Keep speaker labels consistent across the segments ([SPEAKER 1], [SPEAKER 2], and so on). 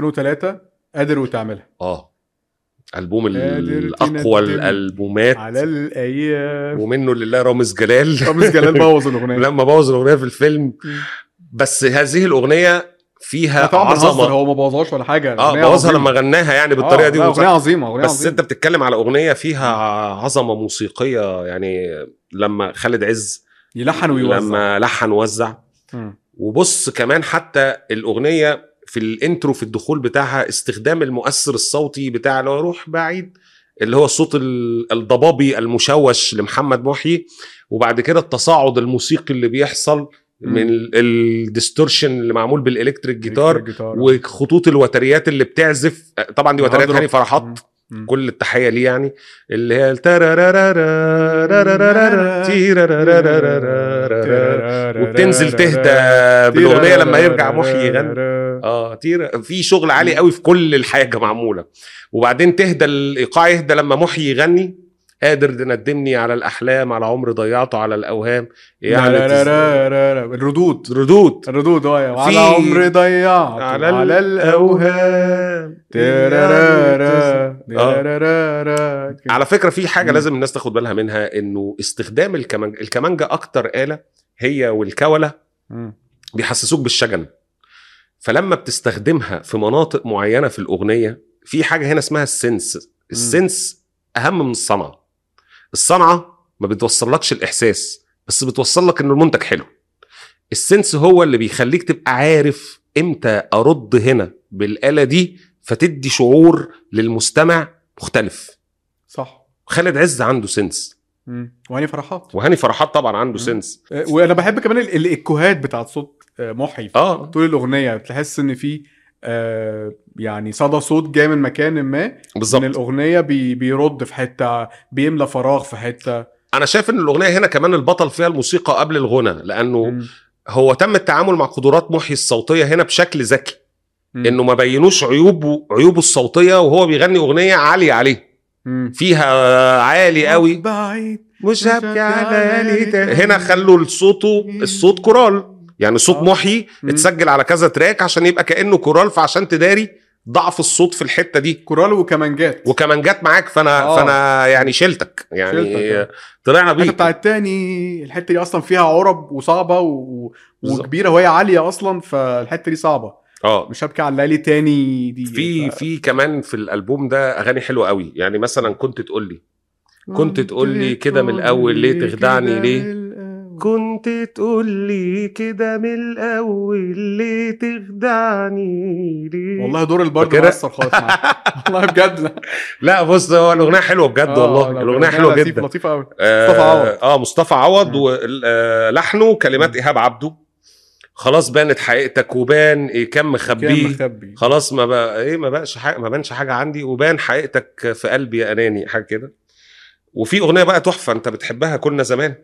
[SPEAKER 1] 2003 قادر وتعملها
[SPEAKER 2] اه البوم
[SPEAKER 1] قادر
[SPEAKER 2] الاقوى
[SPEAKER 1] تندم
[SPEAKER 2] الالبومات
[SPEAKER 1] على الايام
[SPEAKER 2] ومنه لله رامز جلال
[SPEAKER 1] رامز جلال بوظ الاغنيه
[SPEAKER 2] لما بوظ الاغنيه في الفيلم بس هذه الاغنيه
[SPEAKER 1] أنا
[SPEAKER 2] فيها
[SPEAKER 1] طبعا بهزر
[SPEAKER 2] عظمه
[SPEAKER 1] هو ما بوظهاش ولا حاجه
[SPEAKER 2] اه
[SPEAKER 1] الأغنية
[SPEAKER 2] بوظها
[SPEAKER 1] عظيمة.
[SPEAKER 2] لما غناها يعني
[SPEAKER 1] آه،
[SPEAKER 2] بالطريقه دي
[SPEAKER 1] لا، اغنيه
[SPEAKER 2] وبتاع.
[SPEAKER 1] عظيمه اغنيه
[SPEAKER 2] بس
[SPEAKER 1] عظيمة.
[SPEAKER 2] انت بتتكلم على اغنيه فيها عظمه موسيقيه يعني لما خالد عز
[SPEAKER 1] يلحن ويوزع
[SPEAKER 2] لما لحن وزع
[SPEAKER 1] مم.
[SPEAKER 2] وبص كمان حتى الاغنيه في الانترو في الدخول بتاعها استخدام المؤثر الصوتي بتاع اللي هو روح بعيد اللي هو الصوت ال- الضبابي المشوش لمحمد محيي وبعد كده التصاعد الموسيقي اللي بيحصل من ال- الديستورشن اللي معمول بالالكتريك جيتار
[SPEAKER 1] الجيتار
[SPEAKER 2] وخطوط الوتريات اللي بتعزف طبعا دي وتريات
[SPEAKER 1] هضرب.
[SPEAKER 2] هاني فرحات
[SPEAKER 1] مم. مم.
[SPEAKER 2] كل التحيه ليه يعني اللي هي الترارارارارارارارارا- تيرارارارارارارارا- وبتنزل تهدى بالاغنيه لما يرجع محيي يغني اه تيرا في شغل عالي قوي في كل الحاجه معموله وبعدين تهدى الايقاع يهدى لما محيي يغني قادر تندمني على الاحلام على عمر ضيعته على الاوهام يعني تز-
[SPEAKER 1] الردود
[SPEAKER 2] ردود
[SPEAKER 1] الردود اه
[SPEAKER 2] في-
[SPEAKER 1] وعلى عمري ضيعت
[SPEAKER 2] على
[SPEAKER 1] على الاوهام
[SPEAKER 2] تز-
[SPEAKER 1] تيرارارا،
[SPEAKER 2] آه.
[SPEAKER 1] تيرارارا. كده.
[SPEAKER 2] على فكره في حاجه
[SPEAKER 1] مم.
[SPEAKER 2] لازم الناس تاخد بالها منها انه استخدام الكمانجا الكمانجا اكتر اله هي والكوله
[SPEAKER 1] مم.
[SPEAKER 2] بيحسسوك بالشجن فلما بتستخدمها في مناطق معينه في الاغنيه في حاجه هنا اسمها السنس السنس اهم من الصنعه الصنعه ما بتوصلكش الاحساس بس بتوصلك ان المنتج حلو السنس هو اللي بيخليك تبقى عارف امتى ارد هنا بالاله دي فتدي شعور للمستمع مختلف
[SPEAKER 1] صح
[SPEAKER 2] خالد عز عنده سنس
[SPEAKER 1] مم. وهاني فرحات
[SPEAKER 2] وهاني فرحات طبعا عنده
[SPEAKER 1] مم.
[SPEAKER 2] سنس
[SPEAKER 1] آه، وانا بحب كمان ال- الايكوهات بتاعت صوت آه، محيي
[SPEAKER 2] اه
[SPEAKER 1] طول الاغنيه تحس ان في آه، يعني صدى صوت جاي من مكان ما ان
[SPEAKER 2] بالظبط
[SPEAKER 1] الاغنيه بي بيرد في حته بيملى فراغ في حته
[SPEAKER 2] انا شايف ان الاغنيه هنا كمان البطل فيها الموسيقى قبل الغنى لانه
[SPEAKER 1] مم.
[SPEAKER 2] هو تم التعامل مع قدرات محيي الصوتيه هنا بشكل ذكي
[SPEAKER 1] مم.
[SPEAKER 2] انه ما بينوش عيوبه عيوبه الصوتيه وهو بيغني اغنيه عاليه عليه
[SPEAKER 1] مم.
[SPEAKER 2] فيها عالي قوي
[SPEAKER 1] بعيد
[SPEAKER 2] مش هبكي على ليالي تاني. هنا
[SPEAKER 1] هنا
[SPEAKER 2] خلوا الصوته الصوت كورال يعني صوت
[SPEAKER 1] آه.
[SPEAKER 2] محيي
[SPEAKER 1] مم.
[SPEAKER 2] اتسجل على كذا تراك عشان يبقى كانه كورال فعشان تداري ضعف الصوت في الحته دي
[SPEAKER 1] كورال وكمانجات
[SPEAKER 2] وكمان جت معاك فانا
[SPEAKER 1] آه.
[SPEAKER 2] فانا يعني شلتك يعني
[SPEAKER 1] شلتك،
[SPEAKER 2] طلعنا بيه
[SPEAKER 1] الحته بتاعت تاني الحته دي اصلا فيها عرب وصعبه و...
[SPEAKER 2] بالظبط.
[SPEAKER 1] وكبيره وهي عاليه اصلا فالحته دي صعبه
[SPEAKER 2] اه
[SPEAKER 1] مش هبكي على الليالي تاني دي
[SPEAKER 2] في في كمان في الالبوم ده اغاني حلوه قوي يعني مثلا كنت تقول لي كنت تقول لي كده من الأول ليه تخدعني ليه؟ كنت تقول لي كده من الاول ليه تخدعني ليه
[SPEAKER 1] والله دور البرد
[SPEAKER 2] فاكرها؟
[SPEAKER 1] مؤثر خالص معايا. والله بجد لا
[SPEAKER 2] لا بص هو الاغنيه حلوه بجد
[SPEAKER 1] آه،
[SPEAKER 2] والله
[SPEAKER 1] لا،
[SPEAKER 2] الاغنيه حلوه
[SPEAKER 1] لطيف-
[SPEAKER 2] جدا
[SPEAKER 1] لطيفه قوي
[SPEAKER 2] مصطفى
[SPEAKER 1] عوض.
[SPEAKER 2] اه مصطفى عوض
[SPEAKER 1] مم.
[SPEAKER 2] ولحنه كلمات ايهاب عبده خلاص بانت حقيقتك وبان إيه كم
[SPEAKER 1] كان
[SPEAKER 2] مخبيه
[SPEAKER 1] مخبي
[SPEAKER 2] خلاص ما بقى ايه ما بقاش حاجه ما بانش حاجه عندي وبان حقيقتك في قلبي يا اناني حاجه كده وفي اغنيه بقى تحفه انت بتحبها كنا زمان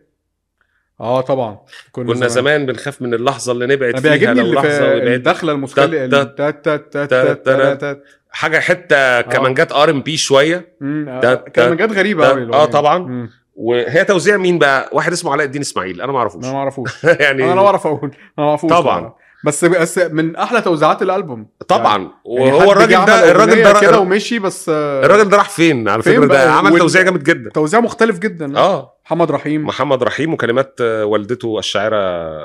[SPEAKER 1] اه طبعا
[SPEAKER 2] كنا زمان بنخاف من اللحظه اللي نبعد
[SPEAKER 1] انا
[SPEAKER 2] فيها
[SPEAKER 1] بيعجبني
[SPEAKER 2] لو
[SPEAKER 1] اللي
[SPEAKER 2] لحظه
[SPEAKER 1] في
[SPEAKER 2] وبعد
[SPEAKER 1] الدخله الموسيقيه اللي-
[SPEAKER 2] تا-
[SPEAKER 1] تا- تا- تا-
[SPEAKER 2] تا-
[SPEAKER 1] تا- تا-
[SPEAKER 2] تا-
[SPEAKER 1] تا-
[SPEAKER 2] حاجه
[SPEAKER 1] آه.
[SPEAKER 2] حته كمان جت ار ام بي شويه
[SPEAKER 1] مم، آه،
[SPEAKER 2] تا-
[SPEAKER 1] كان جت غريبه
[SPEAKER 2] تا-
[SPEAKER 1] قوي
[SPEAKER 2] آه، طبعا.
[SPEAKER 1] مم،
[SPEAKER 2] وهي توزيع مين بقى واحد اسمه علاء الدين اسماعيل انا ما اعرفوش
[SPEAKER 1] انا ما اعرفوش
[SPEAKER 2] يعني
[SPEAKER 1] انا لا اعرف اقول انا ما اعرفوش
[SPEAKER 2] طبعاً.
[SPEAKER 1] بس بس من احلى توزيعات الالبوم
[SPEAKER 2] طبعا
[SPEAKER 1] يعني
[SPEAKER 2] وهو
[SPEAKER 1] حد جه
[SPEAKER 2] الراجل
[SPEAKER 1] عمل
[SPEAKER 2] ده الراجل
[SPEAKER 1] أغنية كده
[SPEAKER 2] ده
[SPEAKER 1] ومشي بس آه،
[SPEAKER 2] الراجل ده راح فين على
[SPEAKER 1] فين
[SPEAKER 2] فكره ده
[SPEAKER 1] بقى؟
[SPEAKER 2] عمل
[SPEAKER 1] وال- آه.
[SPEAKER 2] توزيع جامد جدا
[SPEAKER 1] توزيع مختلف جدا
[SPEAKER 2] اه
[SPEAKER 1] محمد رحيم
[SPEAKER 2] محمد رحيم وكلمات آه، والدته الشاعره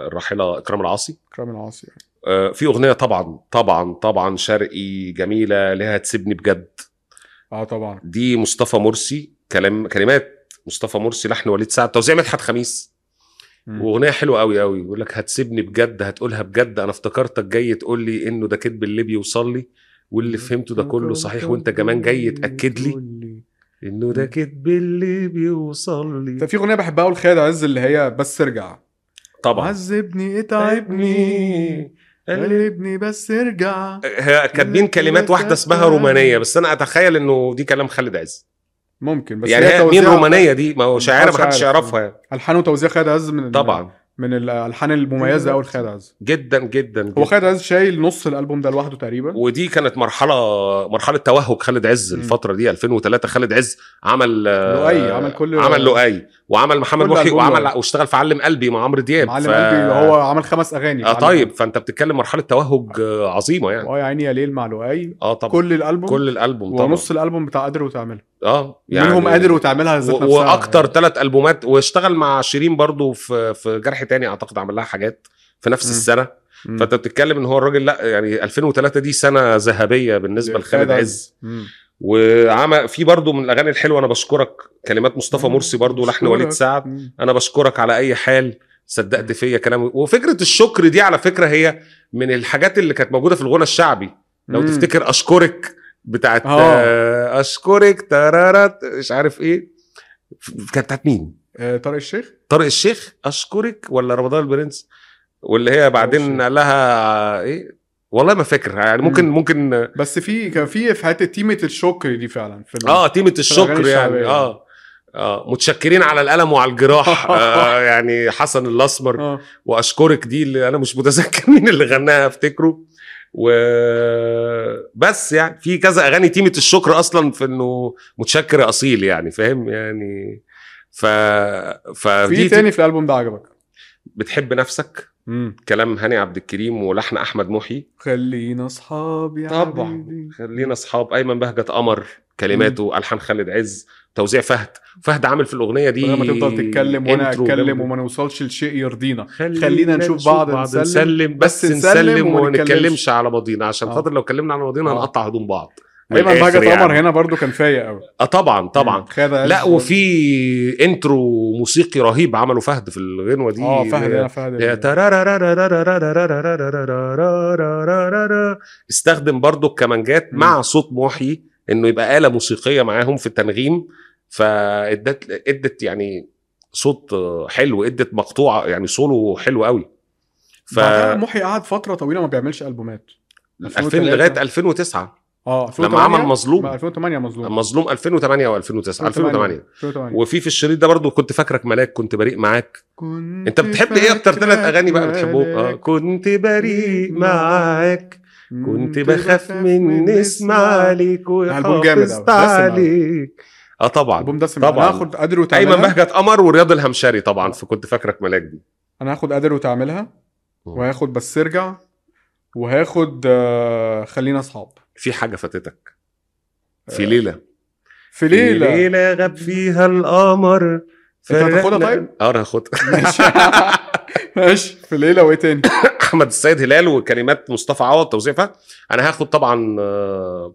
[SPEAKER 2] الراحله اكرام العاصي
[SPEAKER 1] كريم العاصي يعني.
[SPEAKER 2] آه، في اغنيه طبعا طبعا طبعا شرقي جميله لها تسيبني بجد
[SPEAKER 1] اه طبعا
[SPEAKER 2] دي مصطفى مرسي كلام كلمات مصطفى مرسي لحن وليد سعد توزيع مدحت خميس
[SPEAKER 1] مم.
[SPEAKER 2] واغنيه حلوه قوي قوي يقول لك هتسيبني بجد هتقولها بجد انا افتكرتك جاي تقول لي انه ده كذب اللي بيوصل لي واللي فهمته ده كله صحيح وانت كمان جاي تاكد لي انه ده كذب اللي بيوصل
[SPEAKER 1] طب
[SPEAKER 2] لي
[SPEAKER 1] في اغنيه بحبها قوي لخالد عز اللي هي بس ارجع
[SPEAKER 2] طبعا
[SPEAKER 1] عذبني اتعبني قلبني بس ارجع
[SPEAKER 2] هي كاتبين كلمات واحده اسمها رومانيه بس انا اتخيل انه دي كلام خالد عز
[SPEAKER 1] ممكن بس
[SPEAKER 2] يعني
[SPEAKER 1] هي
[SPEAKER 2] هي مين
[SPEAKER 1] توزيع-
[SPEAKER 2] رومانيه دي ما هو شاعره
[SPEAKER 1] محدش
[SPEAKER 2] محدش
[SPEAKER 1] عارف.
[SPEAKER 2] يعرفها يعني.
[SPEAKER 1] الحان وتوزيع خالد عز من
[SPEAKER 2] طبعا
[SPEAKER 1] من الالحان المميزه قوي لخالد عز
[SPEAKER 2] جدا جدا, جداً.
[SPEAKER 1] هو خالد عز شايل نص الالبوم ده لوحده تقريبا
[SPEAKER 2] ودي كانت مرحله مرحله توهج خالد عز
[SPEAKER 1] مم.
[SPEAKER 2] الفتره دي 2003 خالد عز عمل
[SPEAKER 1] لؤي، عمل كل-
[SPEAKER 2] آه، عمل لؤي وعمل محمد
[SPEAKER 1] كل
[SPEAKER 2] وحي
[SPEAKER 1] ألبوم
[SPEAKER 2] وعمل
[SPEAKER 1] لؤي.
[SPEAKER 2] واشتغل في علم قلبي مع عمرو دياب
[SPEAKER 1] معلم قلبي هو عمل خمس اغاني
[SPEAKER 2] اه
[SPEAKER 1] معلم
[SPEAKER 2] طيب فانت بتتكلم مرحله توهج آه، عظيمه
[SPEAKER 1] قلبي.
[SPEAKER 2] يعني
[SPEAKER 1] اه يا عيني يا ليل مع لؤي
[SPEAKER 2] اه طبعا كل,
[SPEAKER 1] كل الالبوم
[SPEAKER 2] كل الالبوم طبعا
[SPEAKER 1] ونص الالبوم بتاع قادر وتعملها
[SPEAKER 2] اه
[SPEAKER 1] يعني منهم قادر وتعملها ذات
[SPEAKER 2] و-
[SPEAKER 1] نفسها
[SPEAKER 2] واكتر ثلاث البومات واشتغل مع شيرين برضو في في جرح تاني اعتقد عمل لها حاجات في نفس
[SPEAKER 1] مم.
[SPEAKER 2] السنه
[SPEAKER 1] مم.
[SPEAKER 2] فانت بتتكلم ان هو الراجل لا يعني 2003 دي سنه ذهبيه بالنسبه لخالد عز
[SPEAKER 1] مم.
[SPEAKER 2] وعمل في برضو من الاغاني الحلوه انا بشكرك كلمات مصطفى
[SPEAKER 1] مم.
[SPEAKER 2] مرسي برضو لحن
[SPEAKER 1] بشكرك.
[SPEAKER 2] وليد سعد
[SPEAKER 1] مم.
[SPEAKER 2] انا بشكرك على اي حال صدقت
[SPEAKER 1] مم.
[SPEAKER 2] فيا كلامي وفكره الشكر دي على فكره هي من الحاجات اللي كانت موجوده في الغنى الشعبي لو
[SPEAKER 1] مم.
[SPEAKER 2] تفتكر اشكرك بتاعت
[SPEAKER 1] آه.
[SPEAKER 2] آه، اشكرك ترارت مش عارف ايه ف- كانت بتاعت مين
[SPEAKER 1] آه، طارق الشيخ
[SPEAKER 2] طارق الشيخ اشكرك ولا رمضان البرنس واللي هي
[SPEAKER 1] الشيخ.
[SPEAKER 2] بعدين قال لها ايه والله ما فاكر يعني ممكن
[SPEAKER 1] مم.
[SPEAKER 2] ممكن
[SPEAKER 1] بس في كان في في حته تيمه الشكر دي فعلا في ال-
[SPEAKER 2] اه تيمة
[SPEAKER 1] الأغاني
[SPEAKER 2] الشكر يعني
[SPEAKER 1] الشعبية.
[SPEAKER 2] اه اه متشكرين على القلم وعلى الجراح آه يعني حسن الاسمر
[SPEAKER 1] اه
[SPEAKER 2] واشكرك دي اللي انا مش متذكر مين اللي غناها افتكره و بس يعني في كذا اغاني تيمة الشكر اصلا في انه متشكر يا اصيل يعني فاهم يعني ف
[SPEAKER 1] في
[SPEAKER 2] فدي
[SPEAKER 1] تاني في الالبوم ده عجبك
[SPEAKER 2] بتحب نفسك
[SPEAKER 1] مم.
[SPEAKER 2] كلام هاني عبد الكريم ولحن احمد محي
[SPEAKER 1] خلينا اصحاب يا
[SPEAKER 2] طبعا.
[SPEAKER 1] حبيبي.
[SPEAKER 2] خلينا اصحاب ايمن بهجت قمر كلماته الحان خالد عز توزيع فهد فهد عامل في الاغنيه دي
[SPEAKER 1] بدل ما تفضل تتكلم وانا
[SPEAKER 2] intro
[SPEAKER 1] اتكلم
[SPEAKER 2] جامدة.
[SPEAKER 1] وما نوصلش لشيء يرضينا خلينا نشوف بعض نسلم.
[SPEAKER 2] نسلم بس,
[SPEAKER 1] بس
[SPEAKER 2] نسلم
[SPEAKER 1] نسلم
[SPEAKER 2] وما
[SPEAKER 1] وما نتكلمش.
[SPEAKER 2] نتكلمش على ماضينا عشان
[SPEAKER 1] آه.
[SPEAKER 2] خاطر لو اتكلمنا على ماضينا
[SPEAKER 1] آه.
[SPEAKER 2] هنقطع هدوم بعض من
[SPEAKER 1] ايمن
[SPEAKER 2] الآخر
[SPEAKER 1] بهجت
[SPEAKER 2] يعني.
[SPEAKER 1] قمر هنا برضو كان فايق قوي
[SPEAKER 2] اه
[SPEAKER 1] آه.
[SPEAKER 2] طبعا طبعا لا وفي انترو موسيقي رهيب عمله فهد في الغنوه دي آه.
[SPEAKER 1] اه فهد هنا فهد
[SPEAKER 2] اللي هي
[SPEAKER 1] هنا.
[SPEAKER 2] تارارارارارارارارارارارارارارارارارارارارارارارارارارارارارارارارارارارارارارارارارارارارارارارارارارارارارارارارارارارارارارارارارارارارارة. استخدم برضو الكمانجات
[SPEAKER 1] مم.
[SPEAKER 2] مع صوت محي انه يبقى آلة موسيقية معاهم في التنغيم فادت ادت يعني صوت حلو ادت مقطوعة يعني سولو حلو قوي ف
[SPEAKER 1] بعدها محي قعد فتره طويله ما بيعملش البومات
[SPEAKER 2] 2000 لغاية 2009
[SPEAKER 1] اه
[SPEAKER 2] لما عمل
[SPEAKER 1] 2008 ما
[SPEAKER 2] مظلوم
[SPEAKER 1] 2008 مظلوم
[SPEAKER 2] مظلوم 2008 و2009 2008
[SPEAKER 1] 2008
[SPEAKER 2] وفي في الشريط ده برضو كنت فاكرك ملاك كنت بريء معاك
[SPEAKER 1] كنت
[SPEAKER 2] انت بتحب ايه اكتر ثلاث اغاني بقى
[SPEAKER 1] فاكرك
[SPEAKER 2] بتحبهم اه
[SPEAKER 1] ملاك.
[SPEAKER 2] كنت بريء معاك كنت بخاف من نعم، اسم عليك
[SPEAKER 1] الألبوم جامد أوي،
[SPEAKER 2] وحافظت
[SPEAKER 1] دسم أوي.
[SPEAKER 2] عليك اه طبعا
[SPEAKER 1] البوم ده سمع.
[SPEAKER 2] طبعاً.
[SPEAKER 1] انا هاخد قادر
[SPEAKER 2] ايمن
[SPEAKER 1] وتعملها
[SPEAKER 2] بهجت قمر ورياض الهمشري طبعا فكنت فاكرك ملاك دي
[SPEAKER 1] انا هاخد قادر وتعملها
[SPEAKER 2] مم.
[SPEAKER 1] وهاخد بس ارجع وهاخد آه، خلينا اصحاب
[SPEAKER 2] في حاجه فاتتك
[SPEAKER 1] آه،
[SPEAKER 2] في ليله
[SPEAKER 1] في ليله
[SPEAKER 2] في ليله غاب فيها القمر
[SPEAKER 1] هتاخدها طيب؟
[SPEAKER 2] اه انا هاخدها
[SPEAKER 1] ماشي ماشي في ليله وايه تاني
[SPEAKER 2] احمد السيد هلال وكلمات مصطفى عوض توزيعها انا هاخد طبعا آه،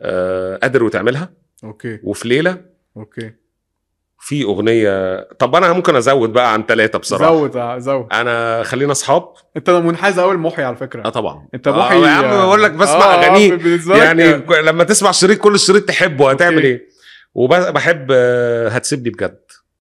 [SPEAKER 2] آه، قادر وتعملها
[SPEAKER 1] اوكي
[SPEAKER 2] وفي ليله
[SPEAKER 1] اوكي
[SPEAKER 2] في اغنيه طب انا ممكن ازود بقى عن ثلاثه بصراحه زود.
[SPEAKER 1] زود آه، زود
[SPEAKER 2] انا خلينا اصحاب
[SPEAKER 1] انت منحاز قوي لمحي على
[SPEAKER 2] اه
[SPEAKER 1] فكره
[SPEAKER 2] طبعا
[SPEAKER 1] انت محي
[SPEAKER 2] آه يا عم بقول لك بسمع
[SPEAKER 1] آه، آه،
[SPEAKER 2] اغانيه
[SPEAKER 1] بالنسبه لك
[SPEAKER 2] يعني ك- لما تسمع شريط كل شريط تحبه هتعمل إيه؟
[SPEAKER 1] أوكي.
[SPEAKER 2] ايه وبحب هتسيبني بجد